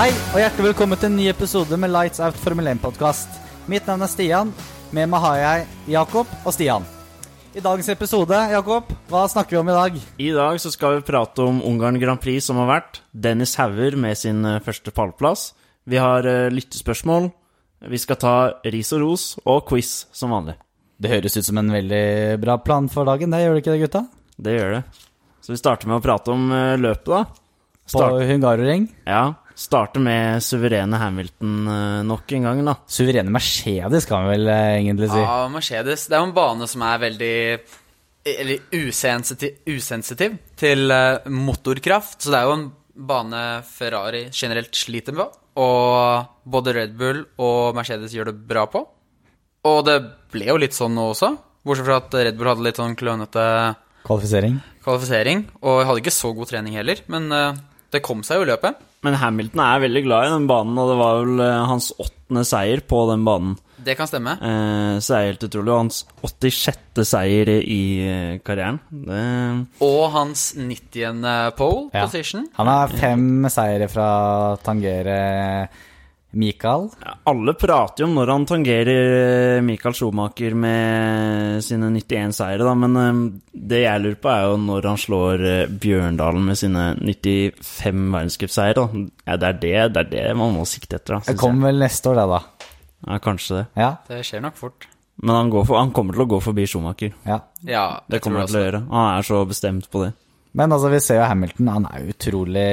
og hjertelig velkommen til en ny episode med Lights Out Formel 1-podkast. Mitt navn er Stian. Med meg har jeg Jakob og Stian. I dagens episode, Jakob, hva snakker vi om i dag? I dag så skal vi prate om Ungarn Grand Prix som har vært. Dennis Hauger med sin eh, første pallplass. Vi har eh, lyttespørsmål. Vi skal ta ris og ros og quiz som vanlig. Det høres ut som en veldig bra plan for dagen, det gjør det ikke det, gutta? Det gjør det. Så vi starter med å prate om eh, løpet, da. På Start, Hungaroring. ja, starter med suverene Hamilton eh, nok en gang, da. Suverene Mercedes, kan vi vel eh, egentlig si. Ja, Mercedes. Det er jo en bane som er veldig Eller usensitiv, usensitiv til eh, motorkraft. Så det er jo en bane Ferrari generelt sliter med. Og både Red Bull og Mercedes gjør det bra på. Og det ble jo litt sånn nå også. Bortsett fra at Red Bull hadde litt sånn klønete Kvalifisering. kvalifisering. Og hadde ikke så god trening heller, men eh, det kom seg jo i løpet. Men Hamilton er veldig glad i den banen, og det var vel eh, hans åttende seier på den banen. Det kan stemme. Eh, så det er helt utrolig. Og hans 86. seier i eh, karrieren. Det Og hans 90. pole Ja. position. Han har fem seire fra å tangere Michael. Alle prater jo om når han tangerer eh, Michael Schumacher med sine 91 seire, da, men eh, det jeg lurer på, er jo når han slår eh, Bjørndalen med sine 95 verdenscupseier. da. Ja, det, er det, det er det man må sikte etter, da. Det synes kommer vel neste år, det, da. jeg. Ja, kanskje det. Ja. Det skjer nok fort. Men han, går for, han kommer til å gå forbi Schumacher. ja. Ja, Det jeg tror kommer han til å gjøre. Han er så bestemt på det. Men altså, vi ser jo Hamilton, han er jo utrolig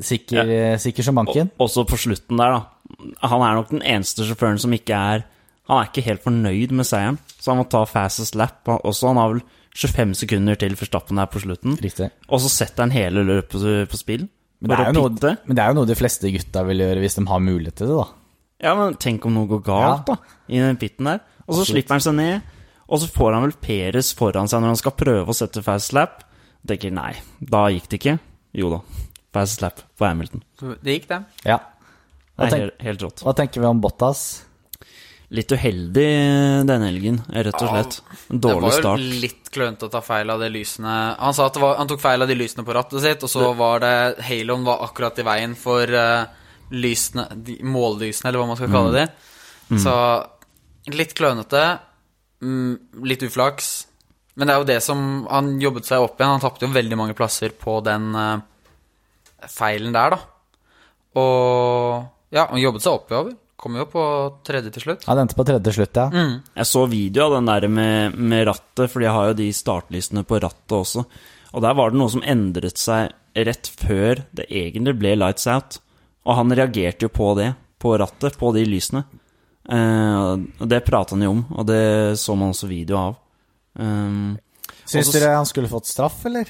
sikker, eh, sikker som banken. Også på slutten der, da. Han er nok den eneste sjåføren som ikke er Han er ikke helt fornøyd med seieren, så han må ta fastest lap han- også. Han har vel 25 sekunder til Verstappen her på slutten. Riktig. Og så setter han hele løpet på spill. Men det, For er å jo noe, pitte. men det er jo noe de fleste gutta vil gjøre hvis de har mulighet til det, da. Ja, men tenk om noe går Ja. galt, da, i den pitten der. Og så slipper han seg ned, og så får han vel Peres foran seg når han skal prøve å sette fast lap. Tenker nei, da gikk det ikke. Jo da, fast lap på Hamilton. også. Det gikk, det. Ja. Det Hva, er tenk, helt, helt rått. hva tenker vi om Bottas? Litt uheldig eh, denne helgen, rett og slett. En dårlig det var start. jo litt klønete å ta feil av de lysene Han sa at det var, han tok feil av de lysene på rattet sitt, og så var det Haloen var akkurat i veien for eh, lysene de, Mållysene, eller hva man skal Mm. kalle de. Så litt klønete. Mm, litt uflaks. Men det er jo det som Han jobbet seg opp igjen. Han tapte jo veldig mange plasser på den eh, feilen der, da. Og ja, han jobbet seg oppover. Kom jo på tredje til slutt. Han endte på tredje til slutt, ja. Jeg så video av den der med, med rattet, fordi jeg har jo de startlysene på rattet også. Og der var det noe som endret seg rett før det egentlig ble lights out. Og han reagerte jo på det, på rattet, på de lysene. Eh, og det prata han jo om, og det så man også video av. Um, Syns Og så- dere han skulle fått straff, eller?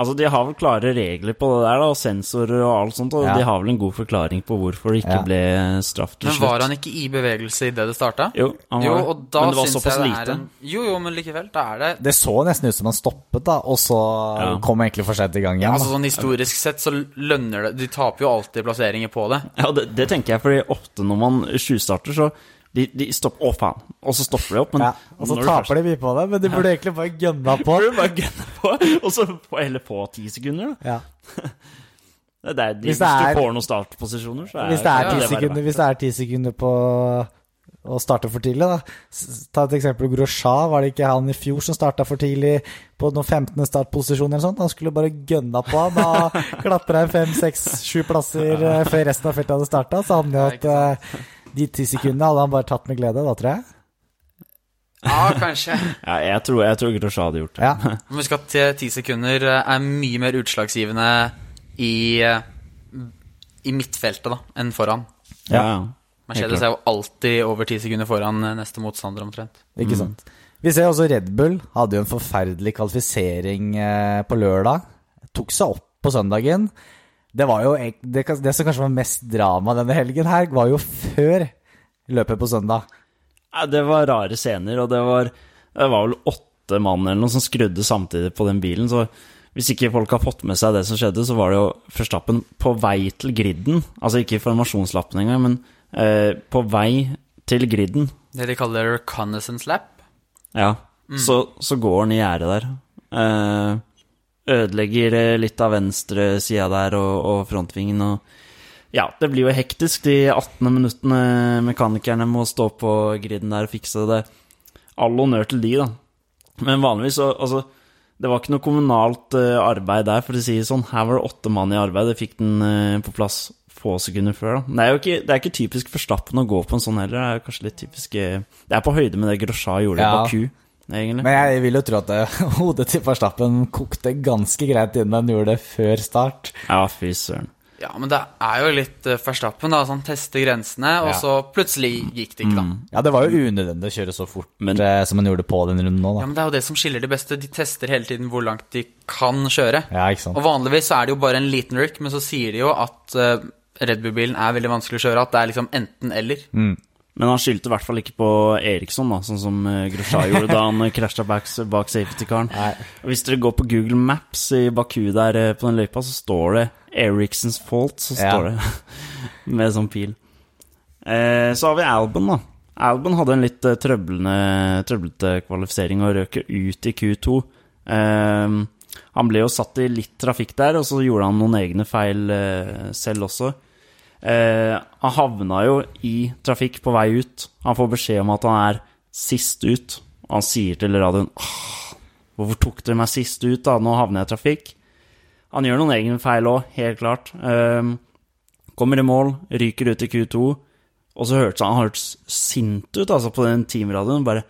altså, de har vel klare regler på det der, da, og sensorer og alt sånt, og Ja. de har vel en god forklaring på hvorfor det ikke Ja. ble straff til Men slutt. var han ikke i bevegelse idet det starta? Jo, han var jo, det. og da men det var syns såpass jeg det lite. Er en, jo, jo, men likevel, da er det Det så nesten ut som han stoppet, da, og så Ja. kom han egentlig for sent i gang igjen. Altså Da. Sånn historisk sett så lønner det De taper jo alltid plasseringer på det. Ja, det, det tenker jeg, fordi ofte når man tjuvstarter, så de, de stopper Å, faen. Og så stopper de opp, men Ja, og så taper de mye på det, men de burde egentlig bare gønna på. Burde bare gønne på, og så på- heller på ti sekunder, da. Ja. Det er der, de, Hvis hvis, det er- du får noen startposisjoner, så er Hvis det er kan ti være sekunder, verdt hvis det er 10 sekunder på å starte for tidlig, da. S- Ta et eksempel Grosja. Var det ikke han i fjor som starta for tidlig på noen 15. startposisjon eller sånt? Han skulle bare gønna på. Da klatra han fem, seks, sju plasser eh, før resten av feltet hadde starta. Så hadde han jo at eh, de ti sekundene hadde han bare tatt med glede, da, tror jeg. Ja, kanskje. Ja, jeg tror, jeg tror Grosja hadde gjort det. Ja. Men husk at eh, ti sekunder eh, er mye mer utslagsgivende i, eh, i midtfeltet da enn foran. Ja. Mercedes er jo alltid over ti sekunder foran eh, neste motstander, omtrent. Ikke sant. Vi ser også Red Bull hadde jo en forferdelig kvalifisering eh, på lørdag. Tok seg opp på søndagen. Det, var jo, ek- det, kan- det som kanskje var mest drama denne helgen her, var jo før løpet på søndag. Ja, det var rare scener, og det var, det var vel åtte mann eller noe som skrudde samtidig på den bilen. Så hvis ikke folk har fått med seg det som skjedde, så var det jo Verstappen på vei til griden. Altså ikke formasjonslappen engang, men eh, på vei til griden. Det de kaller reconnaissance lap. Ja. Så, så går han i gjerdet der. Eh, ødelegger eh, litt av venstre sida der og, og frontvingen og Ja, det blir jo hektisk de 18 minuttene mekanikerne må stå på griden der og fikse det. All honnør til de, da. Men vanligvis så Altså, det var ikke noe kommunalt eh, arbeid der, for å si det sånn. Her var det åtte mann i arbeid, det fikk den eh, på plass få sekunder før, da. Det er jo ikke, det er ikke typisk Verstappen å gå på en sånn heller. Det er jo kanskje litt typisk eh, Det er på høyde med det Grosjean gjorde i Ja. Baku, egentlig. Men jeg vil jo tro at det, hodet til Verstappen kokte ganske greit innen han gjorde det før start. Ja, fy søren. Ja, men det er jo litt eh, Verstappen, da. Så han tester grensene, og Ja. så plutselig gikk det ikke, da. Mm. Ja, det var jo unødvendig å kjøre så fort Men- eh, som han gjorde på den runden nå, da. Ja, men det er jo det som skiller de beste. De tester hele tiden hvor langt de kan kjøre. Ja, ikke sant. Og vanligvis så er det jo bare en liten røyk, men så sier de jo at eh, Red Bull-bilen er veldig vanskelig å kjøre, at det er liksom enten-eller. Mm. Men han skyldte i hvert fall ikke på Eriksson, da, sånn som eh, Grosjean gjorde da han eh, krasja bak, bak safety-karen. Og Hvis dere går på Google Maps i Baku der eh, på den løypa, så står det 'Eriksons fault', så Ja. står det med sånn pil. Eh, så har vi Albon, da. Albon hadde en litt eh, trøblende, trøblete kvalifisering og røk ut i Q2. Eh, han ble jo satt i litt trafikk der, og så gjorde han noen egne feil eh, selv også. Eh, han havna jo i trafikk på vei ut. Han får beskjed om at han er sist ut. Og han sier til radioen Åh, Hvorfor tok dere meg sist ut, da? Nå havner jeg i trafikk. Han gjør noen egne feil òg, helt klart. Eh, kommer i mål, ryker ut i Q2. Og så hørtes han, han hørtes sint ut altså, på den teamradioen. Bare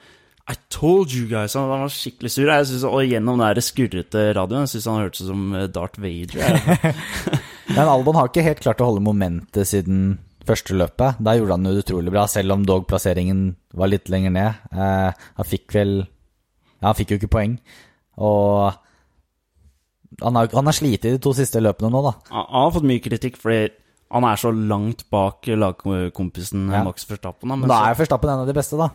I told you guys! Han, han var skikkelig sur. Jeg synes, og gjennom den der skurrete radioen Jeg syns han hørtes ut som eh, Darth Vader. Jeg. Men Albon har ikke helt klart å holde momentet siden første løpet. Der gjorde han det utrolig bra, selv om dog plasseringen var litt lenger ned. Eh, han fikk vel Ja, han fikk jo ikke poeng. Og han har, han har slitt i de to siste løpene nå, da. Han han har fått mye kritikk fordi han er så langt bak lagkompisen Ja. Max Verstappen. Da, Men men da er Verstappen en av de beste, da.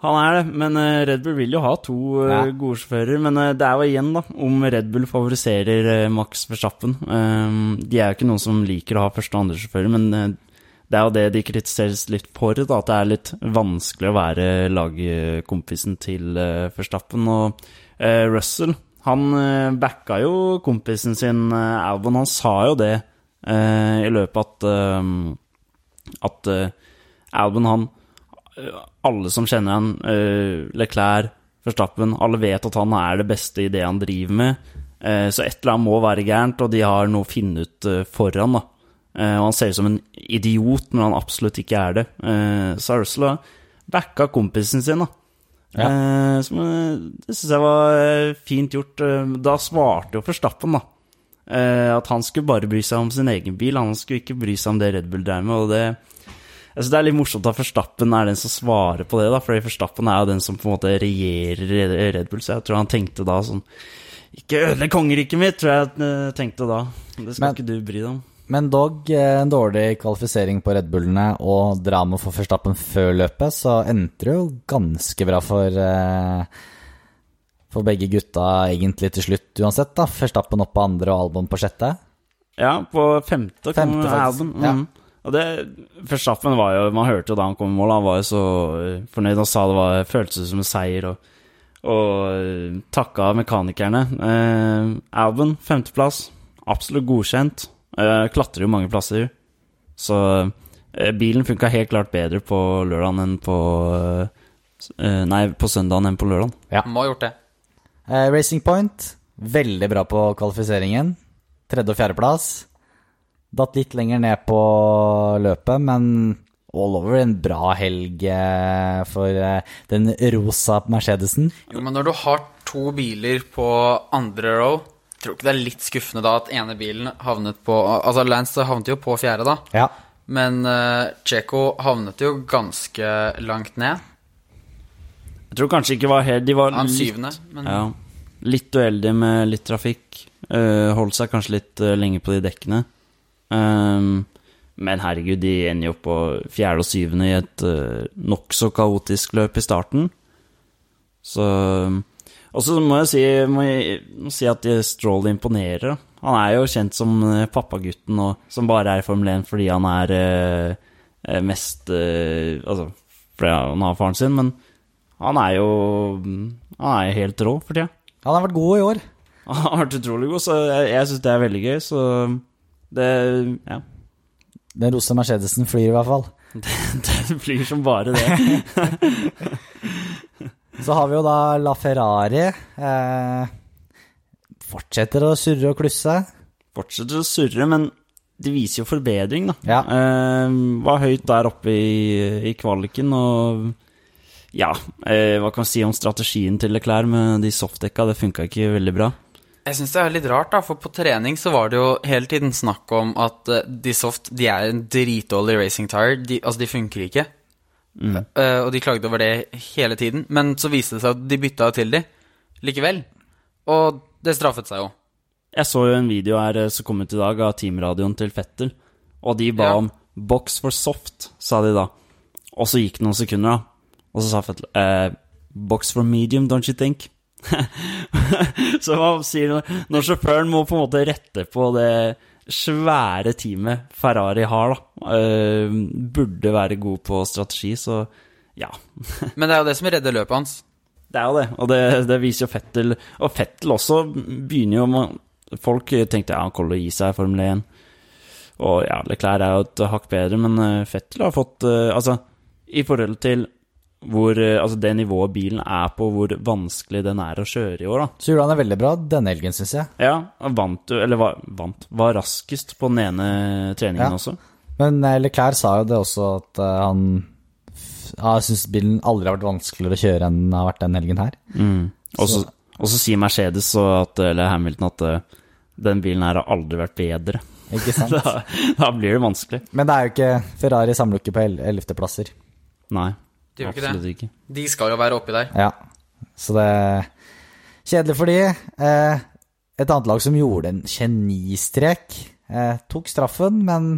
så, han er det, men eh, Red Bull vil jo ha to eh, Ja. gode sjåfører. Men eh, det er jo igjen da, om Red Bull favoriserer eh, Max Verstappen. Eh, de er jo ikke noen som liker å ha første og andre sjåfører, men eh, det er jo det de kritiseres litt for, da, at det er litt vanskelig å være lagkompisen til eh, Verstappen. Og eh, Russell, han eh, backa jo kompisen sin eh, Albon, han sa jo det eh, i løpet at eh, at eh, Albon, han eh, Alle som kjenner han, eh, Leclerc, Verstappen, alle vet at han er det beste i det han driver med. Eh, så et eller annet må være gærent, og de har noe å finne ut eh, for han da. Eh, og han ser ut som en idiot når han absolutt ikke er det. Eh, så Ursula backa kompisen sin, da. Ja. Eh, som, eh, det syns jeg var eh, fint gjort. Eh, Da svarte jo Forstappen, da. Eh, at han skulle bare bry seg om sin egen bil, han skulle ikke bry seg om det Red Bull drev med. Og det, jeg synes det er litt morsomt at Forstappen er den som svarer på det, da, fordi Forstappen er jo den som på en måte regjerer Red- Red Bull, så jeg tror han tenkte da sånn Ikke ødelegg kongeriket mitt, tror jeg eh, tenkte da. Det skal Men- ikke du bry deg om. Men dog eh, en dårlig kvalifisering på Red Bullene og drama for Verstappen før løpet, så endte det jo ganske bra for eh, For begge gutta egentlig til slutt uansett, da. Verstappen opp på andre og Albon på sjette. Ja, på femte kom Femte, faktisk. Albon. Mm. Og det, Verstappen var jo Man hørte jo da han kom i mål, han var jo så eh, fornøyd. Han sa det var, føltes som en seier, og, og eh, takka mekanikerne. Eh, Albon, femteplass. Absolutt godkjent. Eh, klatrer jo mange plasser. Så eh, bilen funka helt klart bedre på lørdagen enn på eh, s- eh, Nei, på søndagen enn på lørdagen. Ja. Må ha gjort det. Eh, Racing Point, veldig bra på kvalifiseringen. Tredje- og fjerdeplass. Datt litt lenger ned på løpet, men all over en bra helg eh, for eh, den rosa Mercedesen. Jo, men når du har to biler på andre row Tror du ikke det er litt skuffende da at ene bilen havnet på Altså, Lance havnet jo på fjerde, da. Ja. Men uh, Checo havnet jo ganske langt ned. Jeg tror kanskje ikke var helt De var Han litt- syvende. Men Ja. Litt uheldig med litt trafikk. Eh, holdt seg kanskje litt eh, lenge på de dekkene. Ehm, men herregud, de ender jo på fjerde og syvende i et uh, nokså kaotisk løp i starten. Så eh, Og så må jeg si, må jeg må si at eh, Stroll imponerer. da. Han er jo kjent som eh, pappagutten og, som bare er i Formel 1 fordi han er eh, eh, mest eh, Altså, fordi han har faren sin, men han er jo Han er jo helt rå for tida. Han har vært god i år. Han har vært utrolig god, så jeg, jeg syns det er veldig gøy, så det Ja. Den rosa Mercedesen flyr i hvert fall. Det flyr som bare det. Så har vi jo da La Ferrari. Eh, fortsetter å surre og klusse. Fortsetter å surre, men det viser jo forbedring, da. Ja. Eh, var høyt der oppe i, i kvaliken, og ja, eh, hva kan vi si om strategien til Leclerc med de softdekka? Det funka ikke veldig bra. Jeg syns det er litt rart, da, for på trening så var det jo hele tiden snakk om at eh, de soft de er en dritdårlig racing tire. De, altså, de funker ikke. Eh, og de klagde over det hele tiden. Men så viste det seg at de bytta til de likevel. Og det straffet seg jo. Jeg så jo en video her eh, som kom ut i dag av teamradioen til Fettel, og de ba Ja. om 'box for soft', sa de da. Og så gikk det noen sekunder, da, og så sa Fettel eh, 'box for medium, don't you think'? så hva sier du når sjåføren må på en måte rette på det svære teamet Ferrari har, da. Eh, burde være god på strategi, så ja. Men det er jo det som redder løpet hans. Det er jo det, og det, det viser jo Fettel. Og Fettel også begynner jo med Folk tenkte ja, han kommer til å gi seg i Formel 1. Og ja, Leclerc er jo et hakk bedre, men eh, Fettel har fått eh, Altså, i forhold til hvor eh, Altså, det nivået bilen er på, hvor vanskelig den er å kjøre i år, da. Så gjorde han det veldig bra denne helgen, syns jeg. Ja, han vant jo Eller var, vant Var raskest på den ene treningen Ja. også. Men eh, Leclerc sa jo det også, at eh, han f- ja, Jeg syns bilen aldri har vært vanskeligere å kjøre enn den har vært den helgen her. Mm. Og så Så- og så sier Mercedes og at, eller Hamilton at eh, den bilen her har aldri vært bedre. Ikke sant? Da, da blir det vanskelig. Men det er jo ikke Ferrari samler jo ikke på el- ellevteplasser. Nei. De gjør ikke det. absolutt ikke. De skal jo være oppi der. Ja. Så det er Kjedelig for de. Eh, et annet lag som gjorde en genistrek, eh, tok straffen, men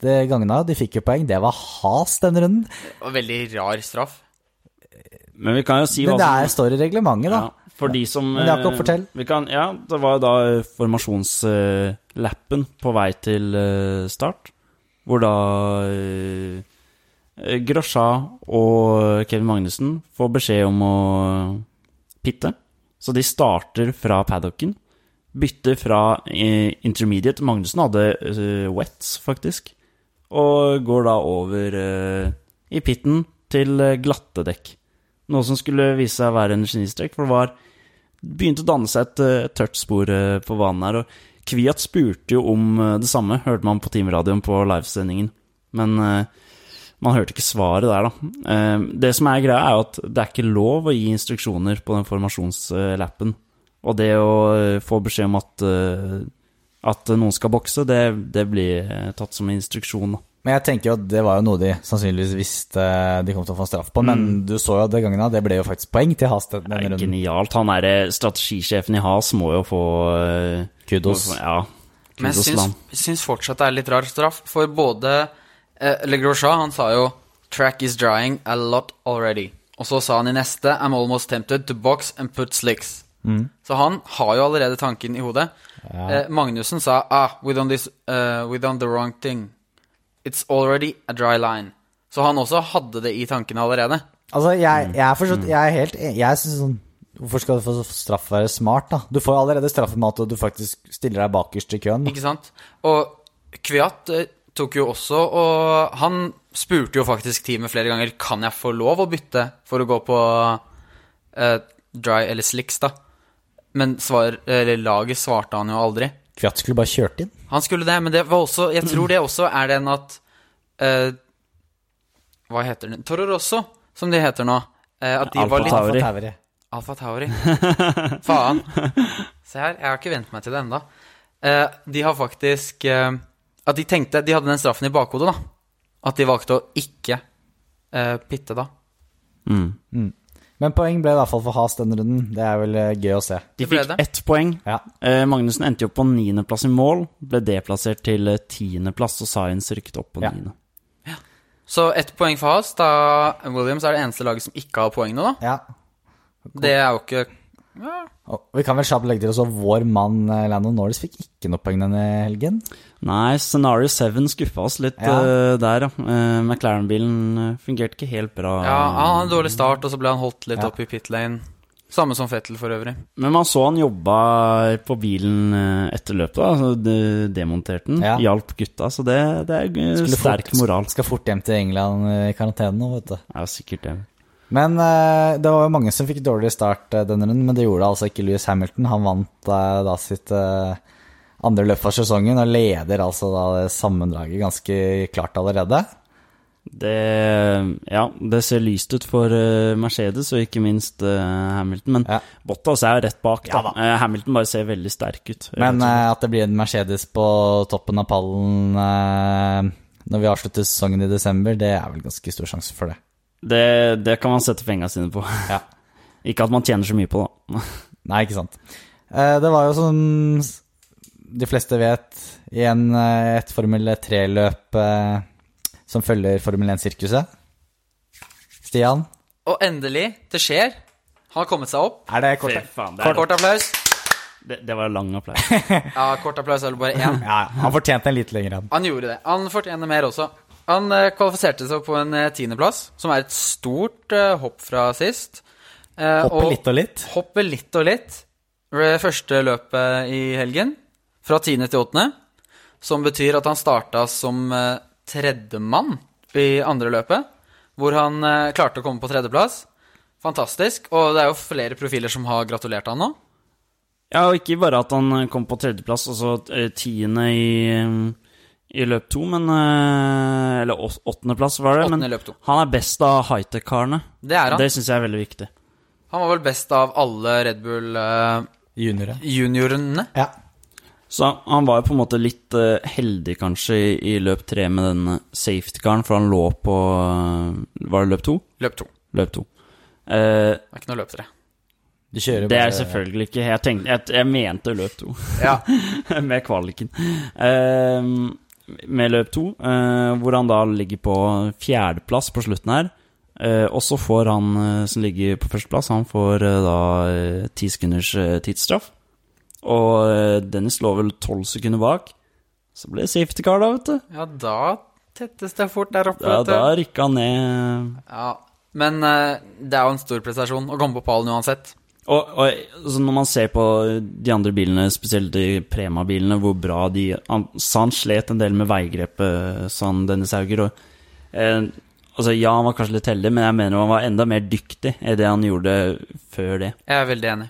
det gagna. De fikk jo poeng. Det var has denne runden. Og veldig rar straff. Men vi kan jo si Men det hva er, står i reglementet, da. ja, For de som Men Jakob, eh, fortell. Vi kan, ja, det var jo da eh, formasjonslappen på vei til eh, start, hvor da eh, eh, Grosja og Kevin Magnussen får beskjed om å pitte. Så de starter fra paddocken. Bytter fra eh, intermediate Magnussen hadde eh, wets, faktisk. Og går da over eh, i pitten til eh, glatte dekk. Noe som skulle vise seg å være en genistrek, for det var begynte å danne seg et eh, tørt spor eh, på banen her. Og Kviat spurte jo om eh, det samme, hørte man på timeradioen på livesendingen. Men eh, man hørte ikke svaret der, da. Eh, Det som er greia, er jo at det er ikke lov å gi instruksjoner på den formasjonslappen. Og det å eh, få beskjed om at, eh, at noen skal bokse, det, det blir eh, tatt som instruksjon, da. Men jeg tenker jo at det var jo noe de sannsynligvis visste de kom til å få straff på, men Mm. du så jo at det gangen da, det ble jo faktisk poeng til Haas denne Det er runden. genialt. Han er eh, strategisjefen i Has må jo få eh, Kudos. Ja. Men kudos jeg til han. syns, syns fortsatt det er litt rar straff, for både eh, Le Grosjean, han sa jo 'Track is drying a lot already'. Og så sa han i neste 'I'm almost tempted to box and put slicks'. Mm. Så han har jo allerede tanken i hodet. Eh, Magnussen sa ah, we done, this, eh, 'We done the wrong thing'. It's already a dry line. Så han også hadde det i tankene allerede. Altså, Mm. jeg, jeg er forstått, jeg er helt en- Jeg synes sånn Hvorfor skal du få straff være smart, da? Du får jo allerede straffen med at du faktisk stiller deg bakerst i køen. da. Ikke sant? Og Kviat eh, tok jo også Og han spurte jo faktisk teamet flere ganger Kan jeg få lov å bytte for å gå på eh, dry eller slicks, da. Men svar, eller laget svarte han jo aldri. Kviat skulle bare kjørt inn. Han skulle det, men det var også Jeg tror det også er den at eh, Hva heter den? Toro Rosso, som de heter nå. Eh, at de Alfa var litt Tauri. Alfa Tauri. Alfa Tauri. Faen. Se her, jeg har ikke vent meg til det ennå. de har faktisk eh, At de tenkte De hadde den straffen i bakhodet, da. At de valgte å ikke eh, pitte, da. Mm. Men poeng ble i hvert fall for Haas denne runden. Det er vel eh, gøy å se. De Det ble fikk det. ett poeng. Ja. Eh, Magnussen endte jo på niendeplass i mål, ble deplassert til eh, tiendeplass, og Science rykket opp på Ja. niende. Så ett poeng for Haas. Da Williams er det eneste laget som ikke har poeng nå, da. ja. Det er jo ikke Og vi kan vel kjapt legge til også vår mann eh, Landon Norris fikk ikke noe poeng denne helgen. Nei, Scenario 7 skuffa oss litt Ja. eh, der, ja. Eh, McLaren-bilen eh, fungerte ikke helt bra. Ja, han hadde en dårlig start, og så ble han holdt litt opp i pit lane. Samme som Fettel for øvrig. Men man så han jobba på bilen eh, etter løpet, da. altså de- Demonterte den. Ja. Hjalp gutta. Så det, det er eh, Skulle sterk fort- moral. Skal fort hjem til England eh, i karantene nå, vet du. Det er jo sikkert det. Men eh, det var jo mange som fikk dårlig start eh, denne runden, men det gjorde altså ikke Lewis Hamilton. Han vant eh, da sitt eh, andre løp av sesongen og leder altså da det sammendraget ganske klart allerede. Det, ja, det ser lyst ut for eh, Mercedes og ikke minst eh, Hamilton, men Ja. Bottas er jo rett bak. Da. Ja da. Eh, Hamilton bare ser veldig sterk ut. Men eh, at det blir en Mercedes på toppen av pallen eh, når vi avslutter sesongen i desember, det er vel ganske stor sjanse for det. det, det kan man sette penga sine på. Ja. ikke at man tjener så mye på, da. Nei, ikke sant. Eh, Det var jo som s- de fleste vet, igjen eh, et Formel 3-løp eh, som følger Formel 1-sirkuset. Stian, Og endelig, det skjer. Han har kommet seg opp. er det kort? Fy faen, det, Kort, er, kort applaus. det, det var lang applaus. Ja, kort applaus er det bare én. Ja, ja, han fortjente en litt lengre en. Han gjorde det. Han fortjener mer også. Han eh, kvalifiserte seg på en eh, tiendeplass, som er et stort eh, hopp fra sist. Eh, Hopper litt og litt. Hopper litt og litt. Det Første løpet i helgen, fra tiende til åttende, som betyr at han starta som eh, tredjemann i andre løpet, hvor han eh, klarte å komme på tredjeplass. Fantastisk. Og det er jo flere profiler som har gratulert han nå. Ja, og ikke bare at han eh, kom på tredjeplass, og så eh, tiende i, eh, i løp to, men eh, Eller åt- åttendeplass, var det. Åttende Men i løp to. han er best av high-tech-karene. Det er han. Det syns jeg er veldig viktig. Han var vel best av alle Red eh, Bull-juniorene. Junioren. Ja. Så han var jo på en måte litt eh, heldig kanskje i, i løp tre med den safety-caren, for han lå på eh, Var det løp to? Løp to. Løp to. Eh, Det er ikke noe løp tre. Du kjører det er bare- selvfølgelig ikke Jeg, tenkte, jeg, jeg mente løp to, Ja. med kvaliken. Eh, med løp to, eh, hvor han da ligger på fjerdeplass på slutten her. Eh, og så får han eh, som ligger på førsteplass, han får eh, da eh, ti sekunders eh, tidsstraff. Og eh, Dennis lå vel tolv sekunder bak. Så ble det safety car, da, vet du. Ja, da tettes det fort der oppe. Ja, vet du. da rykka han ned Ja. Men eh, det er jo en stor prestasjon å komme på pallen uansett. Og, og så når man ser på de andre bilene, spesielt de Prema-bilene, hvor bra de han, Så han slet en del med veigrepet, sa han Dennis Hauger. Og, eh, altså, ja, han var kanskje litt heldig, men jeg mener han var enda mer dyktig i det han gjorde før det. Jeg er veldig enig.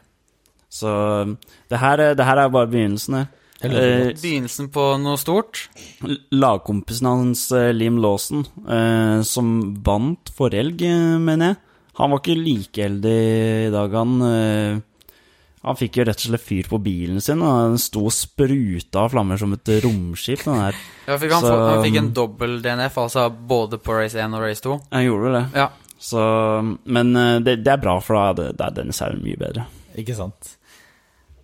Så eh, det her, er- det her er bare begynnelsen, her. Det låter Eh, Begynnelsen på noe stort. L- Lagkompisen hans, eh, Liam Lawson, eh, som vant forrige helg, eh, mener jeg, han var ikke like heldig i dag, han. Eh, han fikk jo rett og slett fyr på bilen sin, og den sto og spruta av flammer som et romskip. Den her. Ja, fikk han, Så, få- han fikk en um, dobbel DNF, altså både på race 1 og race 2. Han gjorde vel det. Ja. Så, men eh, det, det er bra, for da er det- da er Dennis Haugen mye bedre. Ikke sant.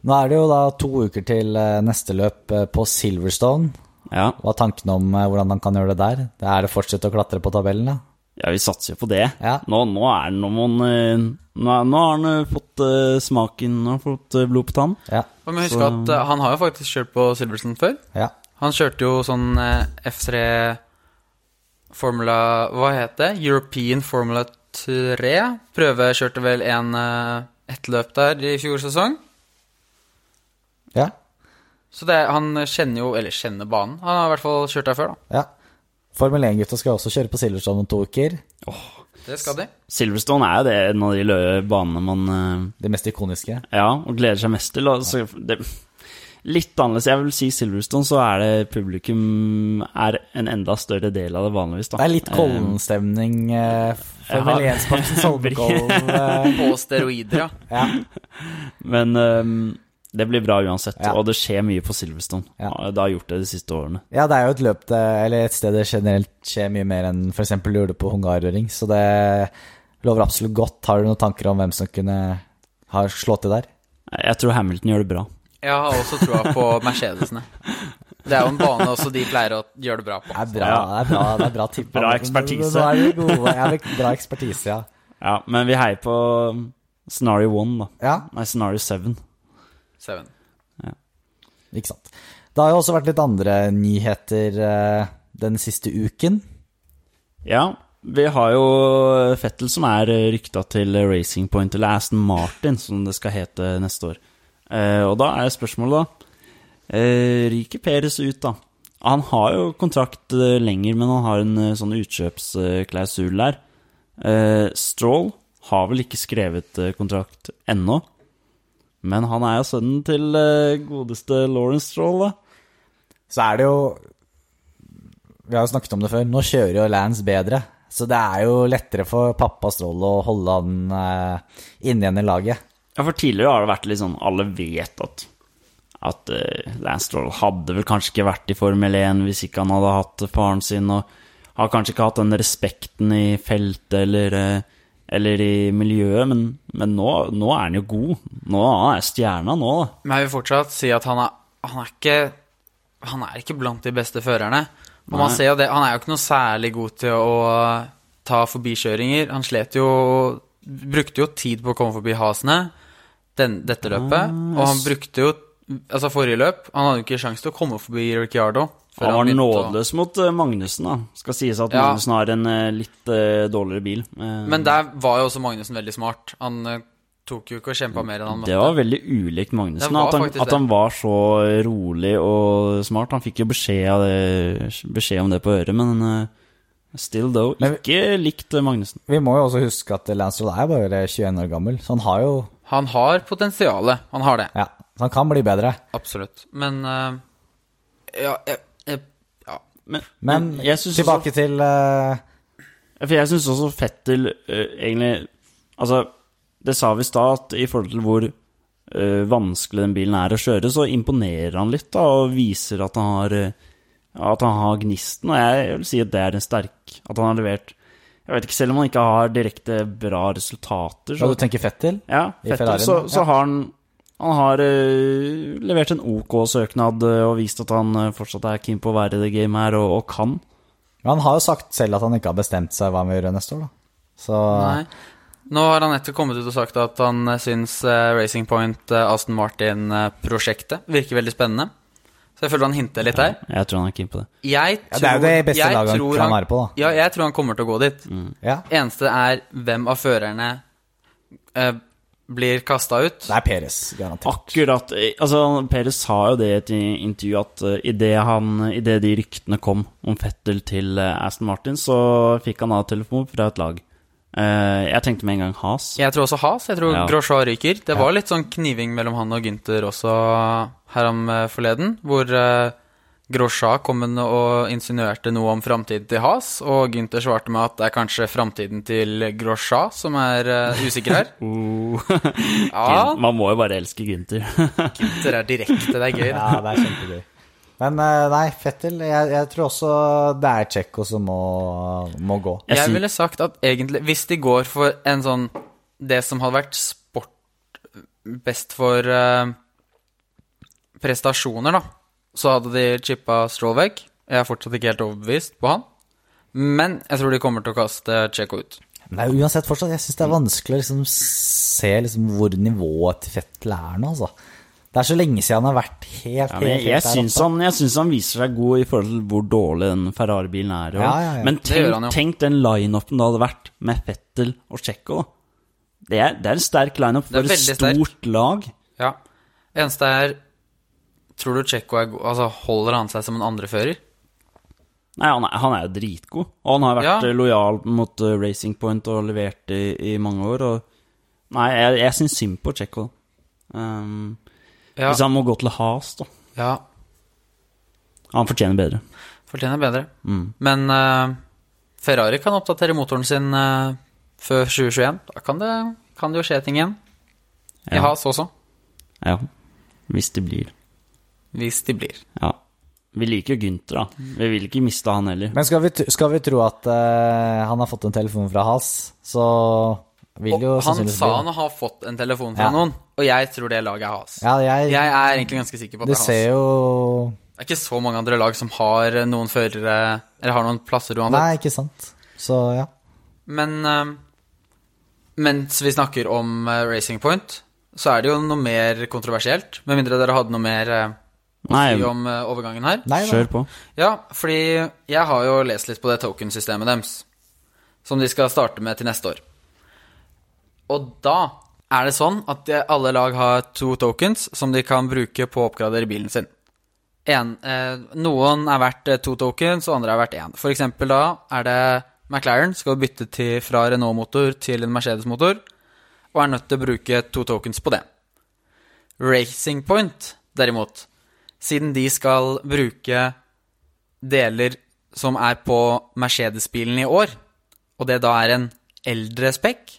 Nå er det jo da to uker til eh, neste løp eh, på Silverstone. Ja, Hva er tankene om eh, hvordan han kan gjøre det der? Det er det å fortsette å klatre på tabellen, da? ja vi satser jo på det. Ja. Nå, nå er det noen eh, nå, er- nå har han eh, fått eh, smaken, nå har han fått eh, blod på tann. Ja. Og vi husker at eh, han har jo faktisk kjørt på Silversen før. ja. Han kjørte jo sånn eh, F3 Formula Hva het det? European Formula 3. Prøvekjørte vel en eh, ett løp der i fjor sesong. Ja. Så det, han kjenner jo Eller kjenner banen. Han har i hvert fall kjørt der før, da. ja. Formel 1-gutta skal også kjøre på Silverstone om to uker. Det skal de. Silverstone er jo det en av de lø- banene man eh, De mest ikoniske. ja, og gleder seg mest til. og så det, litt annerledes. Jeg vil si Silverstone, så er det publikum er en enda større del av det vanligvis. Da. Det er litt Kollen-stemning. eh, Formel Ja. 1-spakten Solkollen. eh, På steroider, ja. Ja. Eh, Men eh, det blir bra uansett, Ja. og det skjer mye på Silverstone. Ja. Og Det har gjort det de siste årene. ja, det er jo et løp det, eller et sted det generelt skjer mye mer enn f.eks. du gjorde på Hungarøring, så det lover absolutt godt. Har du noen tanker om hvem som kunne ha slått til der? Jeg tror Hamilton gjør det bra. Jeg har også troa på Mercedesene. Det er jo en bane også de pleier å gjøre det bra på. Det er bra, det Ja. er bra, det er bra tippa. Bra ekspertise. Nå er de gode. Ja, det er bra ekspertise, ja. Ja, men vi heier på Scenario 1, da. ja. Nei, Scenario 7. Seven. Ikke sant. Det har jo også vært litt andre nyheter eh, den siste uken. Ja, Vi har jo Fettel som er rykta til Racing Point, eller Aston Martin, som det skal hete neste år. Eh, og da er spørsmålet, da eh, Ryker Peres ut, da? Han har jo kontrakt eh, lenger, men han har en eh, sånn utkjøpsklausul der. Eh, Stroll har vel ikke skrevet eh, kontrakt ennå, men han er jo sønnen til eh, godeste Lawrence Stroll, da. Så er det jo Vi har jo snakket om det før. Nå kjører jo Lance bedre. Så det er jo lettere for pappa Stråle å holde han eh, inne igjen i laget. Ja, for tidligere har det vært litt sånn Alle vet at at eh, Lance Stroll hadde vel kanskje ikke vært i Formel 1 hvis ikke han hadde hatt faren sin, og har kanskje ikke hatt den respekten i feltet eller, eh, eller i miljøet, men, men nå, nå er han jo god. Nå han er stjerna nå, da. Men jeg vil fortsatt si at han er, han er ikke Han er ikke blant de beste førerne. Og man Nei. ser jo det, Han er jo ikke noe særlig god til å uh, ta forbikjøringer. Han slet jo Brukte jo tid på å komme forbi hasene den, dette løpet. Ah, Og han brukte jo Altså forrige løp Han hadde jo ikke sjanse til å komme forbi Ricciardo. før Han var begynte å- nådeløs mot eh, Magnussen, da. Skal sies at Ja. Magnussen har en eh, litt eh, dårligere bil. eh, Men der var jo også Magnussen veldig smart. Han eh, tok jo ikke og kjempa mer enn han måtte. Det var veldig ulikt Magnussen. Det var At han, faktisk at det. han var så rolig og smart. Han fikk jo beskjed, av det, beskjed om det på øret, men eh, still though, Men- ikke likt Magnussen. Vi må jo også huske at Lance Stroll er bare 21 år gammel, så han har jo Han har potensialet. Han har det. Ja, så han kan bli bedre. Absolutt. Men eh, Ja, jeg, jeg, ja. Men, Men Mm, jeg syns også, tilbake til eh, for jeg synes også Fettel eh, egentlig Altså, det sa vi i stad, at i forhold til hvor eh, vanskelig den bilen er å kjøre, så imponerer han litt da, og viser at han har, eh, at han har gnisten. Og jeg, jeg vil si at det er en sterk At han har levert Jeg vet ikke, selv om han ikke har direkte bra resultater, Hva så du tenker Fettel? ja, i Fettel, Ferrarien, så, ja. så har han han har eh, levert en OK søknad eh, og vist at han eh, fortsatt er keen på å være i det gamet her, og, og kan. Men Han har jo sagt selv at han ikke har bestemt seg hva han vil gjøre neste år, da. Så Nei. Nå har han nettopp kommet ut og sagt at han eh, syns eh, Racing Point eh, Aston Martin-prosjektet virker veldig spennende. Så jeg føler han hinter litt her. Jeg tror han er keen på det. Jeg ja, tror, Det er jo det beste jeg laget han tror kan være på, Mm. da. Ja, jeg tror han kommer til å gå dit. Ja. Eneste er hvem av førerne eh, blir kasta ut. Det er Peres, garantert. Akkurat. eh, Altså, Perez sa jo det i et intervju at eh, i det han- i det de ryktene kom om Fettel til eh, Aston Martin, så fikk han da telefon fra et lag. Eh, jeg tenkte med en gang Has. Jeg tror også Has. Jeg tror Ja. Grosjean ryker. Det Ja. var litt sånn kniving mellom han og Gynter også her om eh, forleden, hvor eh, Grosjean kom inn og insinuerte noe om framtiden til Has, og Gynter svarte med at det er kanskje framtiden til Grosjean som er eh, usikker her. Oh. Ja, Man må jo bare elske Gynter. Gynter er direkte, det er gøy. Ja, det er kjempegøy. Men eh, nei, Fettel Jeg, jeg tror også det er Tsjekko som må, må gå. Jeg Jeg syn- ville sagt at egentlig, hvis de går for en sånn Det som hadde vært sport best for eh, prestasjoner, da, så hadde de chippa Stroll vekk. Jeg er fortsatt ikke helt overbevist på han. Men jeg tror de kommer til å kaste Checo ut. Men det er jo uansett fortsatt Jeg syns det er vanskelig å liksom, se liksom, hvor nivået til Fettel er nå, altså. Det er så lenge siden han har vært helt, helt, Ja, helt men jeg, jeg, der syns oppe. han, jeg syns han viser seg god i forhold til hvor dårlig den Ferrari-bilen er. Og, Ja, ja, ja. Men Det gjør han tenk, jo. tenk den lineupen det hadde vært med Fettel og Tsjekko. da. Det er, det er en sterk lineup Det er for et veldig stort lag. Ja. Eneste er Tror du Checo er god Altså, holder han seg som en andrefører? Nei, han er, han er jo dritgod. Og han har vært Ja. eh, lojal mot eh, Racing Point og levert i, i mange år. Og, nei, jeg, jeg syns synd på Tsjekko. Um, Ja. Hvis han må gå til Has, da. ja. Han fortjener bedre. Fortjener bedre. Mm. Men eh, Ferrari kan oppdatere motoren sin eh, før 2021. Da kan det, kan det jo skje ting igjen. I Ja. Has også. Ja, hvis det blir. Hvis de blir. Ja. Vi liker jo Gynter, da. Vi vil ikke miste han heller. Men skal vi, t- skal vi tro at eh, han har fått en telefon fra Has, så vil Og jo han sannsynligvis sa bli- han har fått en telefon fra Ja. noen, og jeg tror det laget er Has. Ja, jeg, Jeg er egentlig ganske sikker på Du at det ser er Has. jo Det er ikke så mange andre lag som har eh, noen førere Eller har noen plasser uansett. Nei, ikke sant. Så ja. Men eh, mens vi snakker om eh, Racing Point, så er det jo noe mer kontroversielt. Med mindre dere hadde noe mer eh, å Nei, si om eh, overgangen her. Nei da. kjør på. Ja, fordi jeg har jo lest litt på det token-systemet deres. som de skal starte med til neste år. Og da er det sånn at de- alle lag har to tokens som de kan bruke på å oppgradere bilen sin. En, eh, noen er verdt eh, to tokens, og andre er verdt én. For eksempel da er det McLaren skal bytte til, fra Renault-motor til en Mercedes-motor, og er nødt til å bruke to tokens på det. Racing Point, derimot, siden de skal bruke deler som er på Mercedes-bilen i år, og det da er en eldre spekk,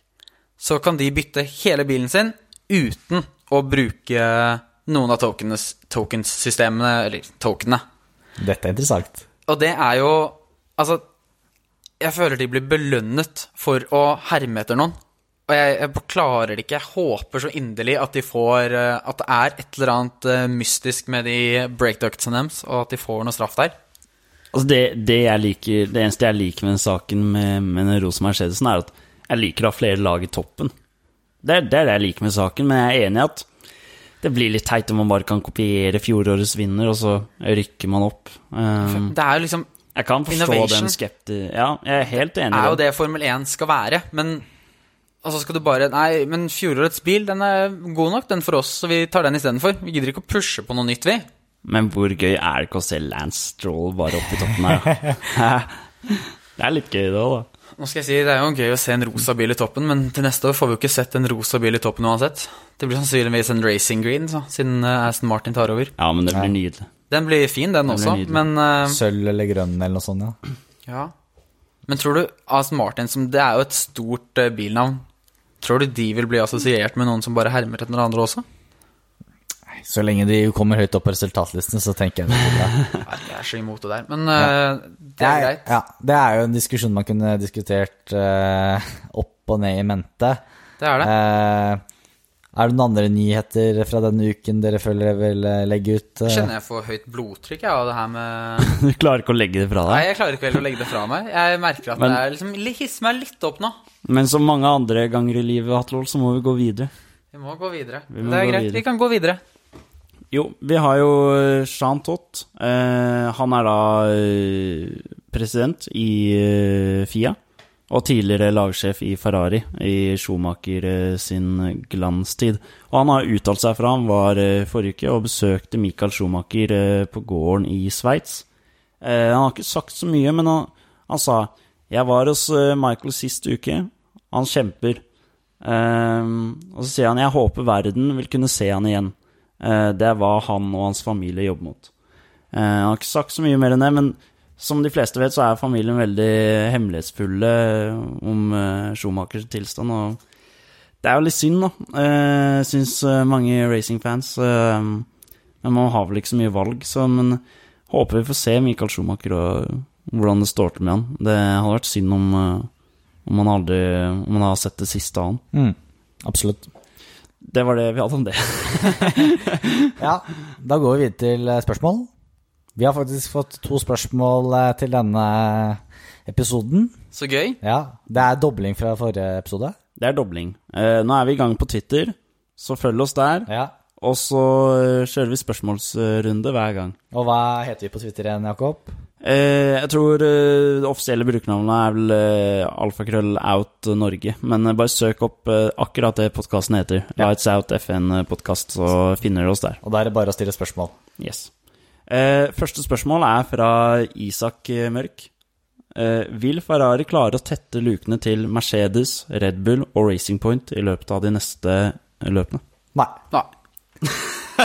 så kan de bytte hele bilen sin uten å bruke noen av tokenes, tokens-systemene, eller tokenene. Dette er interessant. Og det er jo Altså, jeg føler de blir belønnet for å herme etter noen. Og jeg, jeg klarer det ikke. Jeg håper så inderlig at de får eh, At det er et eller annet eh, mystisk med de breakductsene deres, og at de får noe straff der. Altså det, det, jeg liker, det eneste jeg liker med den saken med, med den rosa Mercedesen, sånn, er at jeg liker å ha flere lag i toppen. Det, er- det er det jeg liker med saken, men jeg er enig i at det blir litt teit om man bare kan kopiere fjorårets vinner, og så rykker man opp. Um, Det er jo liksom jeg kan forstå Innovation. den skepti... Ja, jeg er helt enig er i jo det Formel 1 skal være, men og så skal du bare Nei, men fjorårets bil, den er god nok, den for oss, så vi tar den istedenfor. Vi gidder ikke å pushe på noe nytt, vi. Men hvor gøy er det ikke å se Lance Stroll bare opp i toppen her? da? det er litt gøy, det òg, da. Nå skal jeg si, Det er jo gøy å se en rosa bil i toppen, men til neste år får vi jo ikke sett en rosa bil i toppen uansett. Det blir sannsynligvis en racing green, så, siden eh, Aston Martin tar over. Ja, men det blir nydelig. Den blir fin, den Den blir også, nydelig. men eh, Sølv eller grønn eller noe sånt, ja. Ja. Men tror du Aston Martin, som det er jo et stort eh, bilnavn, tror du de vil bli assosiert med noen som bare hermer etter hverandre også? Så lenge de kommer høyt opp på resultatlistene, så tenker jeg det blir bra. Nei, jeg er så imot det der, men eh, det er Nei, greit. Ja, det er jo en diskusjon man kunne diskutert eh, opp og ned i mente. Det er det. Eh, er det noen andre nyheter fra denne uken dere føler dere vil eh, legge ut? eh? Kjenner jeg får høyt blodtrykk jeg, av det her med Du klarer ikke å legge det fra Nei, deg. jeg klarer ikke helt å legge det fra meg. Jeg merker at Men- det er liksom li- hisser meg litt opp nå. Men som mange andre ganger i livet, Hatlol, så må vi gå videre. Vi må gå videre. Vi må det er gå greit. videre. Vi kan gå videre. Jo, vi har jo eh, Jean Tott. Eh, han er da eh, president i eh, FIA. Og tidligere lagsjef i Ferrari i Schumacher eh, sin glanstid. Og han har uttalt seg fra han var eh, forrige uke og besøkte Michael Schumacher eh, på gården i Sveits. Eh, han har ikke sagt så mye, men han, han sa Jeg var hos eh, Michael sist uke. Han kjemper. Ehm, og så sier han Jeg håper verden vil kunne se han igjen. Eh, det er hva han og hans familie jobber mot. Eh, han har ikke sagt så mye mer enn det, men som de fleste vet, så er familien veldig hemmelighetsfulle om eh, Schumachers tilstand. og det er jo litt synd, da, eh, syns eh, mange racingfans. Eh, men man har vel ikke så mye valg, så men håper vi får se Michael Schumacher og hvordan det står til med han. Det hadde vært synd om, eh, om, han, aldri, om han har sett det siste av han. Mm, absolutt. Det var det vi hadde om det. Ja, da går vi videre til eh, spørsmål. Vi har faktisk fått to spørsmål eh, til denne episoden. Så gøy. Ja, det er dobling fra forrige episode. Det er dobling. Eh, nå er vi i gang på Twitter, så følg oss der. Ja. Og så eh, kjører vi spørsmålsrunde hver gang. Og hva heter vi på Twitter igjen, Jakob? Eh, jeg tror eh, det offisielle brukernavnet er vel eh, alfakrøll out Norge. Men eh, bare søk opp eh, akkurat det podkasten heter. Ja. Lights Out FN-podkast, så finner du oss der. Og da er det bare å stille spørsmål. Yes. Eh, første spørsmål er fra Isak eh, Mørk. Eh, vil Ferrari klare å tette lukene til Mercedes, Red Bull og Racing Point i løpet av de neste løpene? Nei. Nei.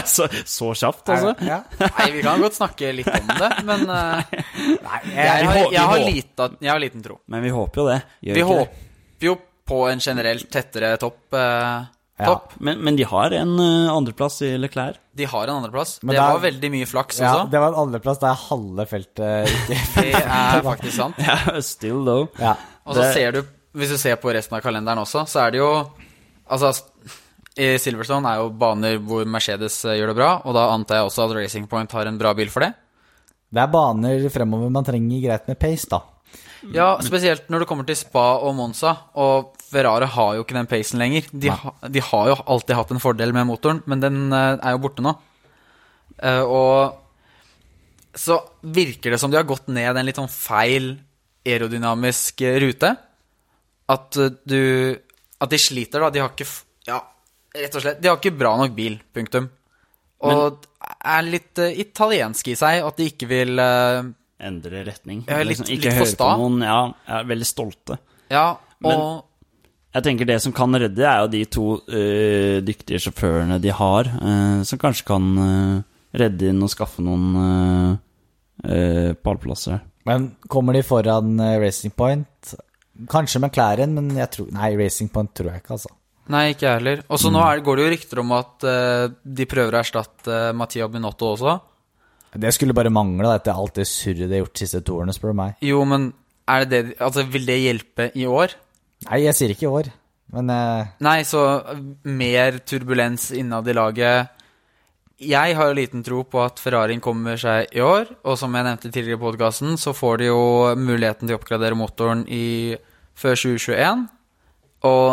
så, så kjapt, altså? Ja. Nei, vi kan godt snakke litt om det, men eh, Nei, jeg, jeg, har, hå- vi jeg, har hå- lite, jeg har liten tro. Men vi håper jo det. Gjør Vi ikke det? håper jo på en generelt tettere topp. eh, Ja. topp. Men, men de har en eh, andreplass i Leclerc. De har en andreplass. Men Det det er- var veldig mye flaks ja, også. det var en andreplass der halve feltet ikke Det er faktisk sant. Still though. Ja. Og så Det- ser du, hvis du ser på resten av kalenderen også, så er det jo Altså, i Silverstone er jo baner hvor Mercedes eh, gjør det bra, og da antar jeg også at Racing Point har en bra bil for det. Det er baner fremover man trenger greit med pace, da. Ja, spesielt når det kommer til Spa og Monza, og Ferrari har jo ikke den pacen lenger. De, ha, de har jo alltid hatt en fordel med motoren, men den eh, er jo borte nå. Eh, og så virker det som de har gått ned en litt sånn feil aerodynamisk eh, rute. at eh, du At de sliter, da. De har ikke f- Ja, rett og slett. De har ikke bra nok bil. Punktum. Og er litt eh, italienske i seg, at de ikke vil eh, Endre retning. Ja, litt- Liksom, ikke litt for høre på sta. noen. Ja, er veldig stolte. Ja, og Men- Jeg tenker det som kan redde, er jo de to eh, dyktige sjåførene de har, eh, som kanskje kan eh, redde inn og skaffe noen eh, eh, pallplasser. Men kommer de foran eh, Racing Point? Kanskje McLaren, men jeg tror Nei, Racing Point tror jeg ikke, altså. Nei, ikke jeg heller. Og så nå er, går det jo rykter om at eh, de prøver å erstatte eh, Mattia Binotto også. Det skulle bare mangle da, etter alt det surret de har gjort de siste to årene, spør du meg. Jo, men er det det Altså, vil det hjelpe i år? Nei, jeg sier ikke i år, men eh, Nei, så eh, mer turbulens innad i laget. Jeg har jo liten tro på at Ferrarien kommer seg i år, og som jeg nevnte tidligere i podkasten, så får de jo muligheten til å oppgradere motoren i, før 2021. Og